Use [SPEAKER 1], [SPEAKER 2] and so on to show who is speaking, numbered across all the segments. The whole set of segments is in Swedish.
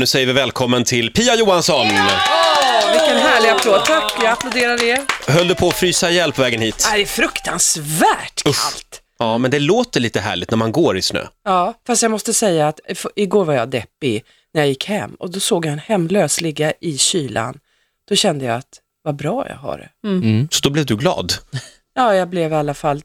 [SPEAKER 1] Nu säger vi välkommen till Pia Johansson!
[SPEAKER 2] Vilken härlig applåd. Tack, jag applåderar er.
[SPEAKER 1] Höll du på att frysa ihjäl på vägen hit?
[SPEAKER 2] Det är fruktansvärt kallt.
[SPEAKER 1] Ja, men det låter lite härligt när man går i snö.
[SPEAKER 2] Ja, fast jag måste säga att f- igår var jag deppig när jag gick hem och då såg jag en hemlös ligga i kylan. Då kände jag att vad bra jag har det.
[SPEAKER 1] Så då blev du glad.
[SPEAKER 2] Ja, jag blev i alla fall,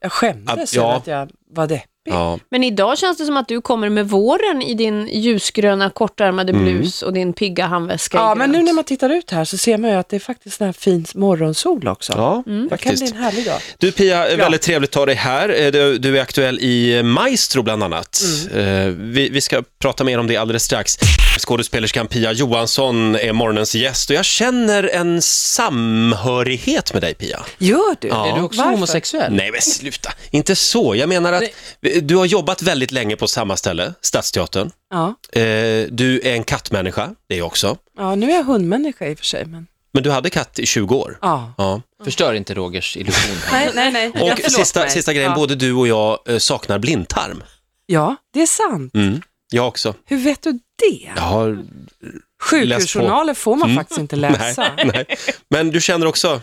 [SPEAKER 2] jag skämdes
[SPEAKER 1] Att- ja.
[SPEAKER 2] över att jag var deppig.
[SPEAKER 1] Ja.
[SPEAKER 3] Men idag känns det som att du kommer med våren i din ljusgröna kortärmade blus och din pigga handväska. i
[SPEAKER 2] Ja, men nu
[SPEAKER 3] grönt.
[SPEAKER 2] när man tittar ut här så ser man ju att det är faktiskt den här fin morgonsol också.
[SPEAKER 1] Ja,
[SPEAKER 2] Det kan bli
[SPEAKER 1] faktiskt.
[SPEAKER 2] en härlig dag.
[SPEAKER 1] Du Pia, väldigt trevligt att ha dig här. Eh, Du, du är aktuell i Maestro bland annat. Eh, Vi, vi ska prata mer om det alldeles strax. Skådespelerskan Pia Johansson är morgonens gäst och jag känner en samhörighet med dig Pia.
[SPEAKER 2] Gör du?
[SPEAKER 1] Ja.
[SPEAKER 4] Är du också
[SPEAKER 2] Varför?
[SPEAKER 4] homosexuell?
[SPEAKER 1] Nej men sluta, inte så. Jag menar att du har jobbat väldigt länge på samma ställe, Stadsteatern.
[SPEAKER 2] Ja.
[SPEAKER 1] Eh, du är en kattmänniska, det är jag också.
[SPEAKER 2] ja, nu är jag hundmänniska i och för sig, men
[SPEAKER 1] Men du hade katt i 20 år.
[SPEAKER 2] ja.
[SPEAKER 1] Ja.
[SPEAKER 4] Mm. Förstör inte Rogers illusion.
[SPEAKER 2] Nej, nej, nej. Eh, Ja,
[SPEAKER 1] Och
[SPEAKER 2] förlåt
[SPEAKER 1] sista,
[SPEAKER 2] mig.
[SPEAKER 1] sista grejen,
[SPEAKER 2] ja.
[SPEAKER 1] både du och jag eh, saknar blindtarm.
[SPEAKER 2] Ja, det är sant.
[SPEAKER 1] Mm. Jag också.
[SPEAKER 2] Hur vet du det?
[SPEAKER 1] Jag har...
[SPEAKER 2] Sjukhusjournaler får man faktiskt inte läsa.
[SPEAKER 1] Mm. Nej, nej. Men du känner också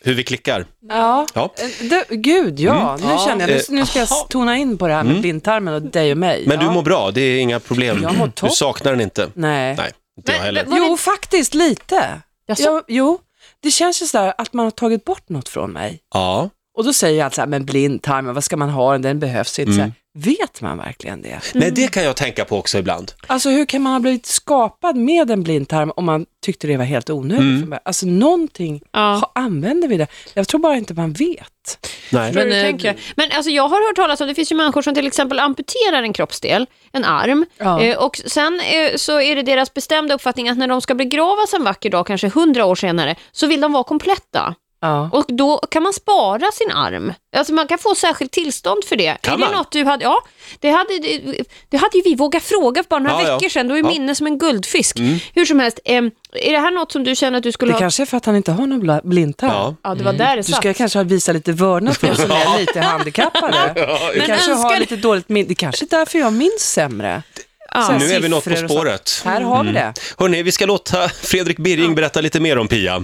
[SPEAKER 1] hur vi klickar.
[SPEAKER 2] Ja.
[SPEAKER 1] Ja.
[SPEAKER 2] Eh, Det, gud, ja. Nu känner jag,
[SPEAKER 1] Eh,
[SPEAKER 2] nu, nu ska jag tona in på det här med blindtarmen och dig och mig.
[SPEAKER 1] Mm. Men
[SPEAKER 2] ja.
[SPEAKER 1] du mår bra, det är inga problem.
[SPEAKER 2] Jag mår
[SPEAKER 1] du
[SPEAKER 2] topp.
[SPEAKER 1] saknar den inte.
[SPEAKER 2] Nej.
[SPEAKER 1] Nej, inte jag
[SPEAKER 3] Men-
[SPEAKER 1] heller.
[SPEAKER 3] men- Var det-
[SPEAKER 2] Jo, faktiskt lite.
[SPEAKER 3] Jaså?
[SPEAKER 2] Jo, jo, det känns ju sådär att man har tagit bort något från mig.
[SPEAKER 1] Ja.
[SPEAKER 2] Och då säger jag alltså, men blindtarmen, vad ska man ha den? Den behövs inte.
[SPEAKER 1] Mm.
[SPEAKER 2] Så här, vet man verkligen det?
[SPEAKER 1] Nej, det kan jag tänka på också ibland.
[SPEAKER 2] Alltså hur kan man ha blivit skapad med en blindtarm om man tyckte det var helt onödigt?
[SPEAKER 1] Mm.
[SPEAKER 2] från början? Alltså någonting
[SPEAKER 3] Ja.
[SPEAKER 2] ha, använder vi det. Jag tror bara inte man vet.
[SPEAKER 1] Nej.
[SPEAKER 3] Men,
[SPEAKER 2] du
[SPEAKER 3] eh,
[SPEAKER 2] tänker?
[SPEAKER 3] men alltså jag har hört talas om, det finns ju människor som till exempel amputerar en kroppsdel, en arm,
[SPEAKER 2] Ja.
[SPEAKER 3] eh, och sen eh, så är det deras bestämda uppfattning att när de ska begravas en vacker dag, kanske hundra år senare, så vill de vara kompletta.
[SPEAKER 2] Ja.
[SPEAKER 3] Och då kan man spara sin arm. Alltså man kan få särskilt tillstånd för det.
[SPEAKER 1] Kan
[SPEAKER 3] är det
[SPEAKER 1] man?
[SPEAKER 3] något du hade? Ja, det hade, det, det hade ju vi vågat fråga för bara några
[SPEAKER 1] Ja, ja.
[SPEAKER 3] veckor sedan. Då är
[SPEAKER 1] Ja.
[SPEAKER 3] minne som en guldfisk. Hur som helst, em, är det här något som du känner att du skulle
[SPEAKER 2] Mm. Det
[SPEAKER 3] ha?
[SPEAKER 2] kanske är för att han inte har någon bla- blindtarm.
[SPEAKER 1] Ja.
[SPEAKER 3] Ja, det var där det
[SPEAKER 2] Du ska
[SPEAKER 3] satt.
[SPEAKER 2] kanske visa lite vördnad för oss som är lite handikappade. Du
[SPEAKER 3] Men
[SPEAKER 2] kanske har
[SPEAKER 3] önskar-
[SPEAKER 2] lite dåligt minne. Det kanske är därför jag minns sämre. Så här
[SPEAKER 1] Nu är vi något på
[SPEAKER 2] siffror och sånt.
[SPEAKER 1] spåret. Mm.
[SPEAKER 2] Här har vi det.
[SPEAKER 1] Hörni, vi ska låta Fredrik Birring berätta lite mer om Pia.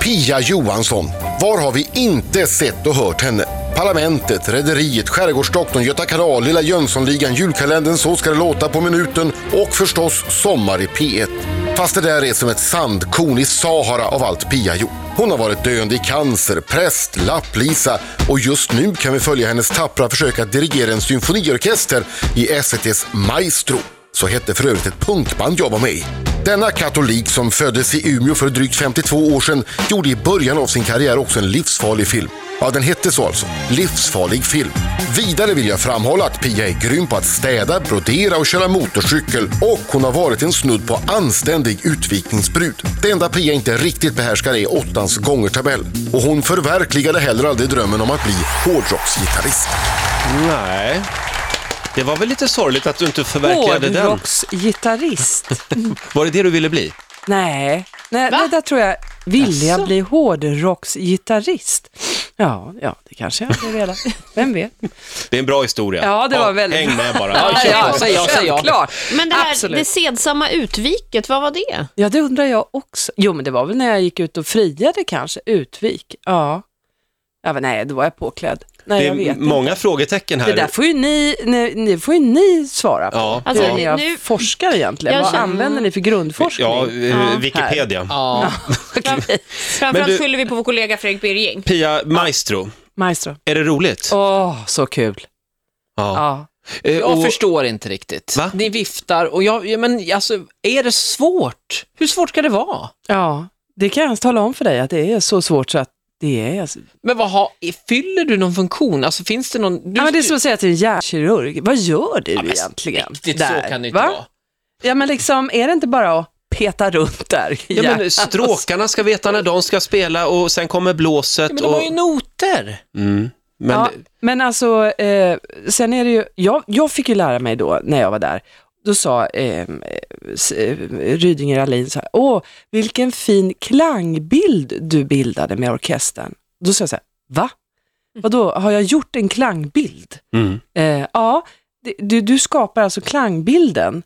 [SPEAKER 5] Pia Johansson. Var har vi inte sett och hört henne? Parlamentet, Rederiet, Skärgårdsdoktorn, Göta kanal, Lilla Jönssonligan, Julkalendern, Så ska det låta på minuten och förstås Sommar i P1. Fast det där är som ett sandkorn i Sahara av allt Pia gjort. Hon har varit döende i cancer, präst, lapplisa och just nu kan vi följa hennes tappra försök att dirigera en symfoniorkester i SVTs Maestro. Så hette för övrigt ett punkband jag var med i. Denna katolik som föddes i Umeå för drygt 52 år sedan gjorde i början av sin karriär också en livsfarlig film. Ja, den hette så alltså. Livsfarlig film. Vidare vill jag framhålla att Pia är grym på att städa, brodera och köra motorcykel och hon har varit en snudd på anständig utvikningsbrud. Det enda Pia inte riktigt behärskar är åttans gångertabell. Och hon förverkligade heller aldrig drömmen om att bli hårdrocksgitarrist.
[SPEAKER 1] Nej. Det var väl lite sorgligt att du inte förverkligade den.
[SPEAKER 2] Hårdrocksgitarrist.
[SPEAKER 1] Var det det du ville bli?
[SPEAKER 2] Nej, Nej det där tror jag. Vill jag bli hårdrocksgitarrist? Ja, ja, det kanske jag hade velat. Vem vet?
[SPEAKER 1] Det är en bra historia.
[SPEAKER 2] Ja, det var väldigt
[SPEAKER 1] Häng med bara.
[SPEAKER 4] Ja, kör på. Säg ja, säg ja.
[SPEAKER 2] Självklart.
[SPEAKER 3] Men det här
[SPEAKER 2] Absolut.
[SPEAKER 3] det sedsamma utviket, vad var det?
[SPEAKER 2] Ja, det undrar jag också. Jo, men det var väl när jag gick ut och friade kanske, utvik. Ja. ja men nej, då var jag påklädd. Nej,
[SPEAKER 1] Det
[SPEAKER 2] jag
[SPEAKER 1] är
[SPEAKER 2] vet
[SPEAKER 1] många frågetecken här.
[SPEAKER 2] inte. Det där får ju ni, ni, ni, får ju ni svara på.
[SPEAKER 1] Ja,
[SPEAKER 3] Alltså,
[SPEAKER 2] Hur
[SPEAKER 1] ja.
[SPEAKER 2] ni ja.
[SPEAKER 3] nu-
[SPEAKER 2] forskar egentligen.
[SPEAKER 3] Jag
[SPEAKER 2] Vad
[SPEAKER 3] känner-
[SPEAKER 2] använder ni för grundforskning?
[SPEAKER 1] ja, eh, Wikipedia.
[SPEAKER 4] Ja.
[SPEAKER 3] Framförallt
[SPEAKER 1] du-
[SPEAKER 3] skyller vi på vår kollega Fredrik Birging.
[SPEAKER 1] Pia, Maestro,
[SPEAKER 2] Maestro.
[SPEAKER 1] är det roligt?
[SPEAKER 2] Åh, så kul.
[SPEAKER 1] Ja.
[SPEAKER 2] Ja.
[SPEAKER 1] Eh,
[SPEAKER 4] Jag
[SPEAKER 1] och-
[SPEAKER 4] förstår inte riktigt.
[SPEAKER 1] Va?
[SPEAKER 4] Ni viftar och jag, ja, men alltså, är det svårt? Hur svårt ska det vara?
[SPEAKER 2] ja, det kan jag tala om för dig att det är så svårt så att det är... Alltså.
[SPEAKER 4] Men vad har, fyller du någon funktion? Alltså finns det någon... Du,
[SPEAKER 2] Ja, men det är som att säga till en hjärtkirurg, vad gör du
[SPEAKER 4] men
[SPEAKER 2] egentligen?
[SPEAKER 4] Riktigt så kan det inte
[SPEAKER 2] va?
[SPEAKER 4] vara.
[SPEAKER 2] Ja, men liksom, är det inte bara att peta runt där i
[SPEAKER 1] Ja, men
[SPEAKER 2] hjärnan?
[SPEAKER 1] stråkarna ska veta när de ska spela och sen kommer blåset.
[SPEAKER 4] Men de har ju
[SPEAKER 1] och...
[SPEAKER 4] noter.
[SPEAKER 1] mm. men,
[SPEAKER 2] Ja, men alltså, eh, sen är det ju, jag, jag fick ju lära mig då när jag var där, då sa eh, s- eh, Rydinger Alin så här, åh, vilken fin klangbild du bildade med orkestern. Då sa jag så här, va? Vadå, har jag gjort en klangbild?
[SPEAKER 1] Mm.
[SPEAKER 2] Eh, ja, det- du, du skapar alltså klangbilden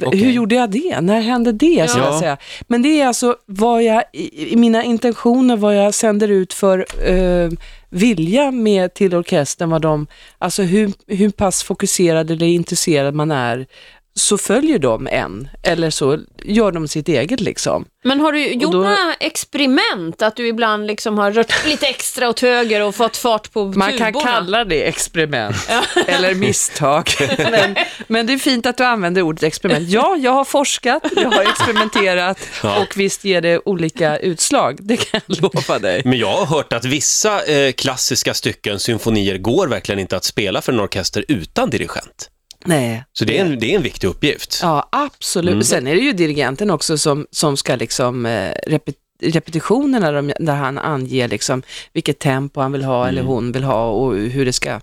[SPEAKER 2] Hur
[SPEAKER 4] Okej.
[SPEAKER 2] gjorde jag det? När hände det? Ska
[SPEAKER 1] Ja.
[SPEAKER 2] jag säga. Men det är alltså vad jag, i i mina intentioner, vad jag sänder ut för eh, vilja med till orkestern, vad de, alltså hur, hur pass fokuserad eller intresserad man är, så följer de en, eller så gör de sitt eget liksom.
[SPEAKER 3] Men har du gjort
[SPEAKER 2] då-
[SPEAKER 3] några experiment? Att du ibland liksom har rört lite extra åt höger och fått fart på
[SPEAKER 2] Man kan
[SPEAKER 3] tuborna?
[SPEAKER 2] kalla det experiment eller misstag. Men, men det är fint att du använder ordet experiment. Ja, jag har forskat, jag har experimenterat och visst ger det olika utslag. Det kan jag lova dig.
[SPEAKER 1] Men jag har hört att vissa eh, klassiska stycken, symfonier, går verkligen inte att spela för en orkester utan dirigent.
[SPEAKER 2] Nej.
[SPEAKER 1] Så det är en, det är en viktig uppgift.
[SPEAKER 2] Ja, absolut. Sen är det ju dirigenten också som, som ska liksom eh, repet- repetitionerna de- där han anger liksom vilket tempo han vill ha eller hon vill ha och hur det ska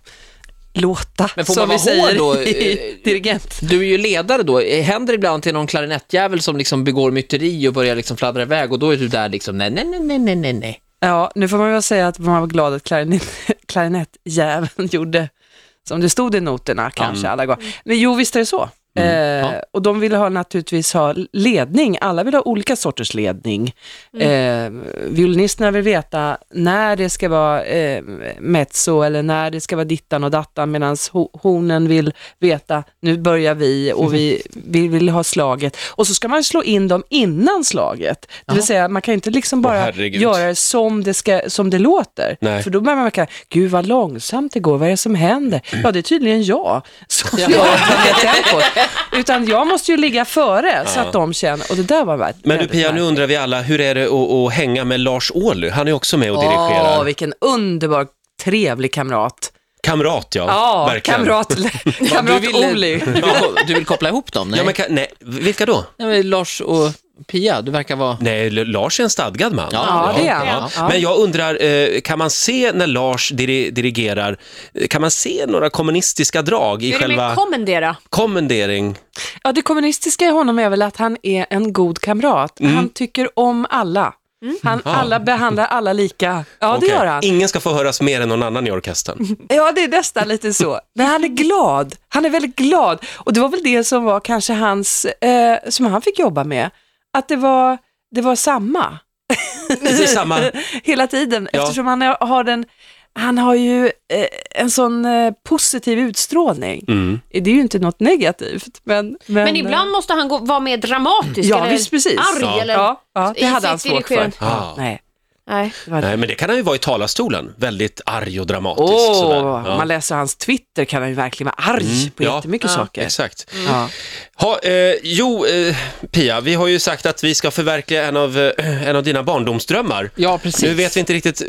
[SPEAKER 2] låta.
[SPEAKER 4] Men får
[SPEAKER 2] som
[SPEAKER 4] man
[SPEAKER 2] vi
[SPEAKER 4] vara hård
[SPEAKER 2] säger
[SPEAKER 4] då?
[SPEAKER 2] i dirigent.
[SPEAKER 4] Du är ju ledare då. Eh, Händer det ibland till någon klarinettjävel som liksom begår myteri och börjar liksom fladdra iväg och då är du där liksom nej, nej, nej, nej, nej, nej, nej.
[SPEAKER 2] Ja, nu får man väl säga att man var glad att klarinett, klarinettjäveln gjorde som det stod i noterna kanske alla gånger. Men jo, visst är det så. Eh, Och de vill ha, naturligtvis ha ledning, alla vill ha olika sorters ledning. Eh, violinisterna vill veta när det ska vara eh, mezzo eller när det ska vara dittan och dattan medan hornen vill veta nu börjar vi och vi, vi vill ha slaget. Och så ska man slå in dem innan slaget. Det vill säga man kan ju inte liksom bara
[SPEAKER 1] herregud.
[SPEAKER 2] göra det som det, ska, som det låter.
[SPEAKER 1] Nej.
[SPEAKER 2] För då börjar man märka, gud vad långsamt det går, vad är det som händer?
[SPEAKER 1] Mm.
[SPEAKER 2] Ja, det är tydligen jag som gör det tempot. Utan jag måste ju ligga före så att de känner, och det där var väldigt
[SPEAKER 1] Men du Pia, nu undrar vi alla, hur är det att, att hänga med Lars Ohly? Han är också med och dirigerar.
[SPEAKER 2] Åh, vilken underbar trevlig kamrat.
[SPEAKER 1] Kamrat, ja.
[SPEAKER 2] Ja,
[SPEAKER 1] verkligen.
[SPEAKER 2] kamrat, kamrat Oli.
[SPEAKER 4] Du, vill ko- du vill koppla ihop dem? Nej.
[SPEAKER 1] Ja, men, ka- nej, vilka då?
[SPEAKER 4] nej men Lars och Pia, du verkar vara...
[SPEAKER 1] Nej, L- Lars är en stadgad man.
[SPEAKER 2] Ja, det är han.
[SPEAKER 1] Ja.
[SPEAKER 2] Ja.
[SPEAKER 1] Men jag undrar, eh, kan man se när Lars diri- dirigerar, eh, kan man se några kommunistiska drag i
[SPEAKER 3] Är det mer
[SPEAKER 1] själva
[SPEAKER 3] kommendera?
[SPEAKER 1] kommendering?
[SPEAKER 2] Ja, det kommunistiska i honom är väl att han är en god kamrat.
[SPEAKER 1] Mm.
[SPEAKER 2] Han tycker om alla. Han alla behandlar alla lika. Ja,
[SPEAKER 1] Okej.
[SPEAKER 2] det gör han.
[SPEAKER 1] Ingen ska få höras mer än någon annan i orkestern.
[SPEAKER 2] Ja, det är nästan lite så. Men han är glad. Han är väldigt glad. Och det var väl det som var kanske hans, eh, som han fick jobba med. Att det var, det var samma
[SPEAKER 1] Det är samma.
[SPEAKER 2] hela tiden.
[SPEAKER 1] Ja.
[SPEAKER 2] Eftersom han är- har den, han har ju eh, en sån eh, positiv utstrålning.
[SPEAKER 1] Mm.
[SPEAKER 2] Det är ju inte något negativt. Men, men, eh,
[SPEAKER 3] Men ibland måste han gå, vara mer dramatisk
[SPEAKER 2] Ja,
[SPEAKER 3] eller
[SPEAKER 2] visst precis.
[SPEAKER 3] arg.
[SPEAKER 1] Ja.
[SPEAKER 3] Eller,
[SPEAKER 2] Ja, ja, det
[SPEAKER 3] i
[SPEAKER 2] hade
[SPEAKER 3] sitt
[SPEAKER 2] han svårt för.
[SPEAKER 3] dirigerande.
[SPEAKER 1] Ah.
[SPEAKER 2] Nej.
[SPEAKER 3] Nej.
[SPEAKER 2] det var-
[SPEAKER 1] Nej, men det kan han ju vara i talarstolen. Väldigt arg och dramatisk.
[SPEAKER 2] Åh,
[SPEAKER 1] sådär. Mm.
[SPEAKER 2] om man läser hans Twitter kan han ju verkligen vara arg på
[SPEAKER 1] Ja,
[SPEAKER 2] jättemycket saker. Mm.
[SPEAKER 1] Exakt.
[SPEAKER 2] Ja.
[SPEAKER 1] Ha, eh, jo, eh, Pia, vi har ju sagt att vi ska förverkliga en av, eh, en av dina barndomsdrömmar.
[SPEAKER 4] Ja, precis.
[SPEAKER 1] Nu vet vi inte riktigt eh,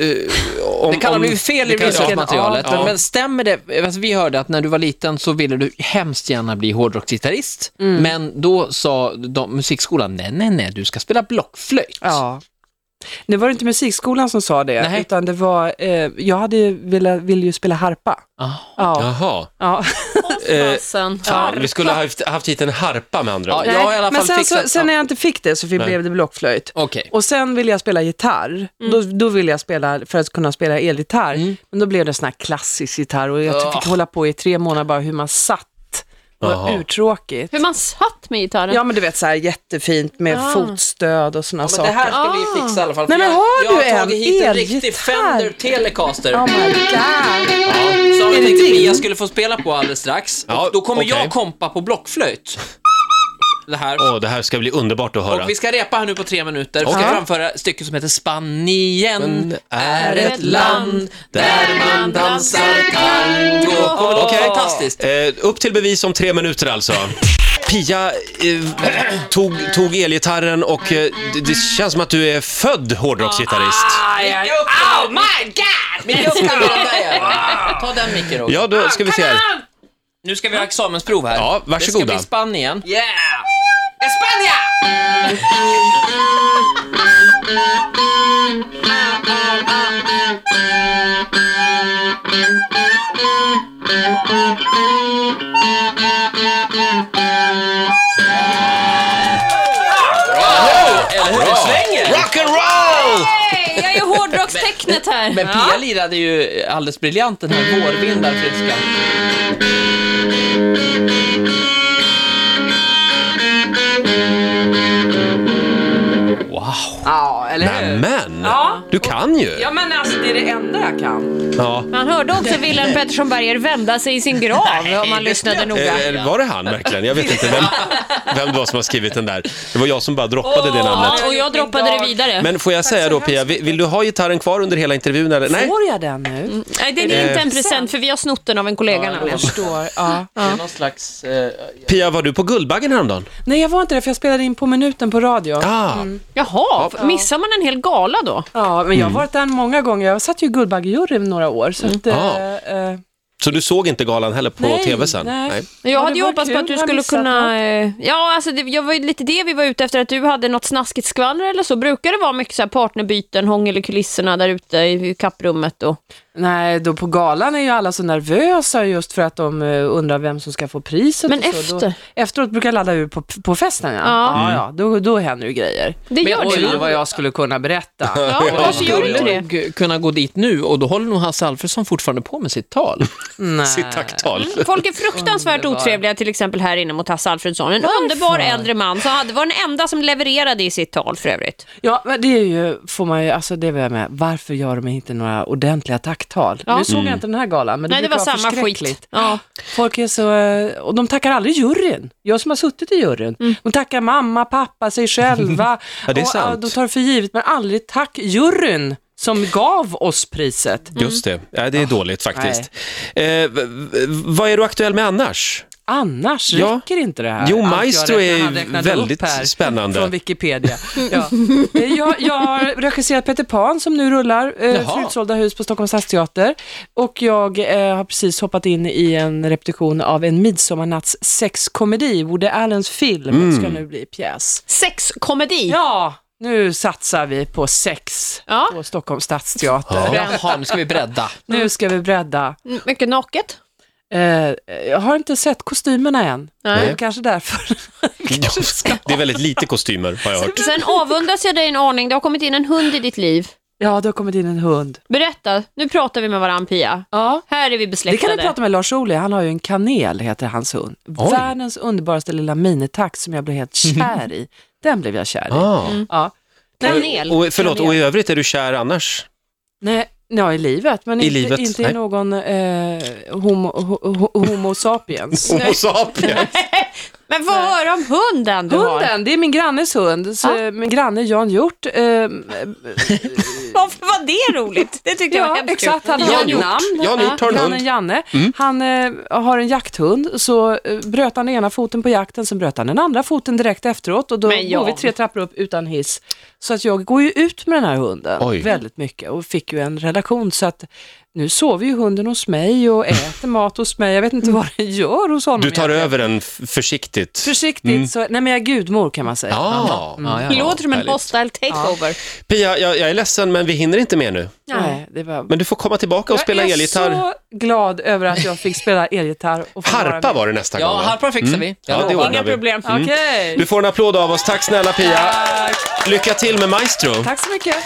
[SPEAKER 1] om...
[SPEAKER 4] Det kan ha
[SPEAKER 1] om-
[SPEAKER 4] blivit fel i
[SPEAKER 1] det kan-
[SPEAKER 2] risken.
[SPEAKER 4] materialet.
[SPEAKER 1] Ja.
[SPEAKER 4] Men, men stämmer det? Alltså, vi hörde att när du var liten så ville du hemskt gärna bli hårdrocksgitarrist. Men då sa de, musikskolan, nej, nej, nej, du ska spela blockflöjt.
[SPEAKER 2] Ja. Nu var det inte musikskolan som sa det,
[SPEAKER 4] Nej.
[SPEAKER 2] utan det var, eh, jag hade ju velat, ville ju spela harpa.
[SPEAKER 4] Ah.
[SPEAKER 2] Ja.
[SPEAKER 1] Jaha.
[SPEAKER 2] Ja.
[SPEAKER 1] Eh,
[SPEAKER 3] Fasen.
[SPEAKER 1] Fan, vi skulle ha haft, haft hit en harpa med andra
[SPEAKER 4] Ja,
[SPEAKER 1] ord.
[SPEAKER 4] jag har i alla fall
[SPEAKER 2] Men sen, så,
[SPEAKER 4] fixat...
[SPEAKER 2] sen när jag inte fick det så fick,
[SPEAKER 1] Nej.
[SPEAKER 2] blev det blockflöjt.
[SPEAKER 4] Okej.
[SPEAKER 2] Och sen ville jag spela gitarr,
[SPEAKER 3] Mm.
[SPEAKER 2] då, då ville jag spela, för att kunna spela elgitarr,
[SPEAKER 4] Mm.
[SPEAKER 2] men då blev det sån här klassisk gitarr och jag
[SPEAKER 4] Ja.
[SPEAKER 2] fick hålla på i tre månader bara hur man satt. Det var
[SPEAKER 1] Jaha.
[SPEAKER 2] urtråkigt.
[SPEAKER 3] Hur man satt med gitarren.
[SPEAKER 2] Ja men du vet så här jättefint med
[SPEAKER 3] Ah.
[SPEAKER 2] fotstöd och såna
[SPEAKER 4] Men
[SPEAKER 2] saker.
[SPEAKER 4] det här ska vi fixa i alla fall.
[SPEAKER 2] Nej,
[SPEAKER 4] för
[SPEAKER 2] men
[SPEAKER 4] jag-
[SPEAKER 2] har
[SPEAKER 4] jag,
[SPEAKER 2] du
[SPEAKER 4] Ah. har
[SPEAKER 2] en
[SPEAKER 4] tagit hit en riktig
[SPEAKER 2] elgitarr?
[SPEAKER 4] Fender Telecaster.
[SPEAKER 2] Oh my god.
[SPEAKER 4] Som jag
[SPEAKER 2] det
[SPEAKER 4] tänkte
[SPEAKER 2] din?
[SPEAKER 4] Mia skulle få spela på alldeles strax.
[SPEAKER 1] Ja,
[SPEAKER 4] och då kommer
[SPEAKER 1] okej.
[SPEAKER 4] jag kompa på blockflöjt. Det här.
[SPEAKER 1] Åh, det här ska bli underbart att höra.
[SPEAKER 4] Och vi ska repa här nu på tre minuter. Vi ska
[SPEAKER 1] Okej.
[SPEAKER 4] framföra ett stycke som heter Spanien
[SPEAKER 1] Men
[SPEAKER 4] Mm, är ett land där man dansar tango. Kommer
[SPEAKER 1] Okej.
[SPEAKER 4] okay. fantastiskt.
[SPEAKER 1] Eh, upp till bevis om tre minuter alltså. Pia eh, tog, tog elgitarren och eh, det, det känns som att du är född hårdrocksgitarrist.
[SPEAKER 4] Ah. Oh my god! Micke upp den där igen. Ta den micken Roger.
[SPEAKER 1] Ja, då ska vi se här.
[SPEAKER 4] Nu ska vi ha examensprov här.
[SPEAKER 1] Ja, varsågoda.
[SPEAKER 4] Det ska bli Spanien. Yeah! Espania! Eller hur? Det svänger!
[SPEAKER 1] Rock'n'roll!
[SPEAKER 3] Hej, jag är hårdrockstecknet här.
[SPEAKER 4] Men Pia lirade ju alldeles briljant den här vårvindar friska.
[SPEAKER 2] Ja, eller hur?
[SPEAKER 1] Nämen!
[SPEAKER 2] Ja.
[SPEAKER 1] Du kan ju!
[SPEAKER 2] Ja, men alltså det är det enda jag kan.
[SPEAKER 1] Ja.
[SPEAKER 3] Man hörde också Wilhelm Pettersson Berger vända sig i sin grav om man lyssnade noga.
[SPEAKER 1] Eh, eh, var det han verkligen? Jag vet inte vem, vem det var som har skrivit den där. Det var jag som bara droppade det
[SPEAKER 2] Åh.
[SPEAKER 1] namnet.
[SPEAKER 3] Ja, och jag droppade det vidare.
[SPEAKER 1] Men får jag säga då Pia, vi- vill du ha gitarren kvar under hela intervjun eller? Nej,
[SPEAKER 2] Får jag den nu?
[SPEAKER 3] Nej, det är inte en present för vi har snott den av en kollega nämligen.
[SPEAKER 2] Förstår. Ja.
[SPEAKER 4] Det är någon slags... Eh,
[SPEAKER 1] Pia var du på Guldbaggen häromdagen?
[SPEAKER 2] Nej, jag var inte där för jag spelade in på minuten på radio.
[SPEAKER 1] Ah,
[SPEAKER 3] Jaha, missar man en hel gala då?
[SPEAKER 2] Ja, men jag
[SPEAKER 1] Mm.
[SPEAKER 2] har varit där många gånger. Jag satt ju i Guldbaggejuryn några år. Så att,
[SPEAKER 1] Ah.
[SPEAKER 2] eh, eh,
[SPEAKER 1] Så du såg inte galan heller på
[SPEAKER 2] Nej,
[SPEAKER 1] tv sen?
[SPEAKER 2] nej.
[SPEAKER 3] Jag
[SPEAKER 2] Ja, det
[SPEAKER 3] hade ju
[SPEAKER 2] var
[SPEAKER 3] hoppats på
[SPEAKER 2] kul.
[SPEAKER 3] att du
[SPEAKER 2] Har jag
[SPEAKER 3] skulle
[SPEAKER 2] missat
[SPEAKER 3] kunna... eh, Ja, alltså det, jag var ju lite det vi var ute efter, att du hade något snaskigt skvaller eller så. Brukar det vara mycket så här partnerbyten, hångel i kulisserna där ute i kapprummet? Och...
[SPEAKER 2] Nej, då på galan är ju alla så nervösa just för att de eh, undrar vem som ska få priset.
[SPEAKER 3] Men
[SPEAKER 2] och så. Då,
[SPEAKER 3] efter?
[SPEAKER 2] efteråt brukar jag ladda ur på, på festen. Ja,
[SPEAKER 3] Ja.
[SPEAKER 2] ja, ja då, då händer ju grejer.
[SPEAKER 3] Det gör
[SPEAKER 4] oj,
[SPEAKER 3] det
[SPEAKER 2] Oj,
[SPEAKER 3] va?
[SPEAKER 2] vad jag skulle kunna berätta.
[SPEAKER 3] Ja, varför gör du inte det?
[SPEAKER 4] nog kunna gå dit nu och då håller nog Hasse Alfredson fortfarande på med sitt tal.
[SPEAKER 2] Nej.
[SPEAKER 1] Sitt tacktal.
[SPEAKER 2] Mm.
[SPEAKER 3] Folk är fruktansvärt otrevliga till exempel här inne mot Hasse Alfredsson. En underbar äldre man som hade, var den enda som levererade i sitt tal för övrigt.
[SPEAKER 2] Ja, men det är ju, får man ju, alltså det är jag med, varför gör de inte några ordentliga tacktal?
[SPEAKER 3] Ja.
[SPEAKER 2] Nu såg
[SPEAKER 1] Mm.
[SPEAKER 2] jag inte den här galan, men det
[SPEAKER 3] Nej, det
[SPEAKER 2] brukar
[SPEAKER 3] var
[SPEAKER 2] vara
[SPEAKER 3] samma
[SPEAKER 2] förskräckligt.
[SPEAKER 3] skit. Ja.
[SPEAKER 2] Folk är så, eh, och de tackar aldrig juryn. Jag som har suttit i juryn.
[SPEAKER 3] Mm.
[SPEAKER 2] De tackar mamma, pappa, sig själva.
[SPEAKER 1] Ja, det är
[SPEAKER 2] och,
[SPEAKER 1] sant.
[SPEAKER 2] eh, De tar det för givet, men aldrig tack juryn som gav oss priset.
[SPEAKER 1] Just det, ja, det
[SPEAKER 2] Ah,
[SPEAKER 1] är dåligt faktiskt. Eh, v- v- vad är du aktuell med annars?
[SPEAKER 2] Annars
[SPEAKER 1] Ja.
[SPEAKER 2] räcker inte det här.
[SPEAKER 1] Jo,
[SPEAKER 2] Allt jag
[SPEAKER 1] Maestro
[SPEAKER 2] räknade-
[SPEAKER 1] är ju
[SPEAKER 2] han räknade
[SPEAKER 1] väldigt
[SPEAKER 2] upp här
[SPEAKER 1] spännande.
[SPEAKER 2] Från Wikipedia. Ja. Eh, jag, jag har regisserat Peter Pan som nu rullar, eh,
[SPEAKER 4] Jaha.
[SPEAKER 2] för utsålda hus på Stockholms stadsteater. Och jag eh, har precis hoppat in i en repetition av en midsommarnatts sexkomedi. Woody Allens film
[SPEAKER 1] Mm.
[SPEAKER 2] ska nu bli pjäs.
[SPEAKER 3] Sexkomedi.
[SPEAKER 2] Ja, nu satsar vi på sex
[SPEAKER 3] Ja.
[SPEAKER 2] på Stockholms stadsteater.
[SPEAKER 4] Jaha, nu ska vi bredda.
[SPEAKER 2] Nu ska vi bredda.
[SPEAKER 3] Mm, Mycket naket.
[SPEAKER 2] Eh, jag har inte sett kostymerna än.
[SPEAKER 3] Nej.
[SPEAKER 2] Men Kanske därför. Kanske ska-
[SPEAKER 1] Det är väldigt lite kostymer har jag hört.
[SPEAKER 3] Sen avundas jag dig en aning. Det har kommit in en hund i ditt liv.
[SPEAKER 2] Ja, det har kommit in en hund.
[SPEAKER 3] Berätta, nu pratar vi med varandra Pia.
[SPEAKER 2] Ja.
[SPEAKER 3] Här är vi
[SPEAKER 2] Det
[SPEAKER 3] besläktade.
[SPEAKER 2] kan du prata med Lars Ohly, han har ju en kanel, heter hans hund. Världens underbaraste lilla minitax som jag blev helt kär i. Den blev jag kär i.
[SPEAKER 1] Ah.
[SPEAKER 2] Ja.
[SPEAKER 3] Kanel.
[SPEAKER 1] Och, förlåt,
[SPEAKER 3] Kanel.
[SPEAKER 1] och i övrigt är du kär annars?
[SPEAKER 2] Nej, ja, i livet, men
[SPEAKER 1] I
[SPEAKER 2] inte,
[SPEAKER 1] livet,
[SPEAKER 2] inte i
[SPEAKER 1] nej.
[SPEAKER 2] någon eh, homo, ho, ho, homo sapiens.
[SPEAKER 1] Homo sapiens.
[SPEAKER 3] Men vad höra om hunden du har?
[SPEAKER 2] Hunden, det är min grannes hund. Så eh, Min granne Jan Hjort. Eh,
[SPEAKER 3] Varför var det roligt? Det tyckte jag var
[SPEAKER 2] ja,
[SPEAKER 3] hemskt
[SPEAKER 2] exakt.
[SPEAKER 3] kul.
[SPEAKER 2] Han har
[SPEAKER 1] Jan
[SPEAKER 2] ett
[SPEAKER 1] Hjort.
[SPEAKER 2] namn.
[SPEAKER 1] Jan Hjort har en
[SPEAKER 2] grannen
[SPEAKER 1] hund.
[SPEAKER 2] Janne.
[SPEAKER 1] Mm.
[SPEAKER 2] Han eh, har en jakthund. Så eh, bröt han ena foten på jakten, sen bröt han den andra foten direkt efteråt. Och då
[SPEAKER 3] Men
[SPEAKER 2] går vi
[SPEAKER 3] Jan.
[SPEAKER 2] tre trappor upp utan hiss. Så att jag går ju ut med den här hunden
[SPEAKER 1] Oj.
[SPEAKER 2] väldigt mycket och fick ju en relation. Så att nu sover ju hunden hos mig och äter mat hos mig. Jag vet inte vad den gör hos honom.
[SPEAKER 1] Du tar Mm.
[SPEAKER 2] egentligen.
[SPEAKER 1] över den f- försiktigt.
[SPEAKER 2] Försiktigt, så, nej men jag är gudmor kan man säga.
[SPEAKER 1] Ah.
[SPEAKER 4] Ja,
[SPEAKER 3] Det låter som en
[SPEAKER 1] härligt.
[SPEAKER 3] hostile takeover.
[SPEAKER 1] Pia, jag, jag är ledsen men vi hinner inte mer nu.
[SPEAKER 2] Nej, det var
[SPEAKER 1] Men du får komma tillbaka och spela elgitarr.
[SPEAKER 2] Jag är så glad över att jag fick spela elgitarr. Och få vara
[SPEAKER 1] Harpa
[SPEAKER 2] med.
[SPEAKER 1] var Mm. det nästa gång
[SPEAKER 4] Ja,
[SPEAKER 1] va?
[SPEAKER 4] harpan fixar vi.
[SPEAKER 1] Mm. Ja, det ordnar vi.
[SPEAKER 3] problem.
[SPEAKER 2] Okej,
[SPEAKER 1] Du får en applåd av oss. Tack snälla Pia. Lycka till med Maestro.
[SPEAKER 2] tack så mycket.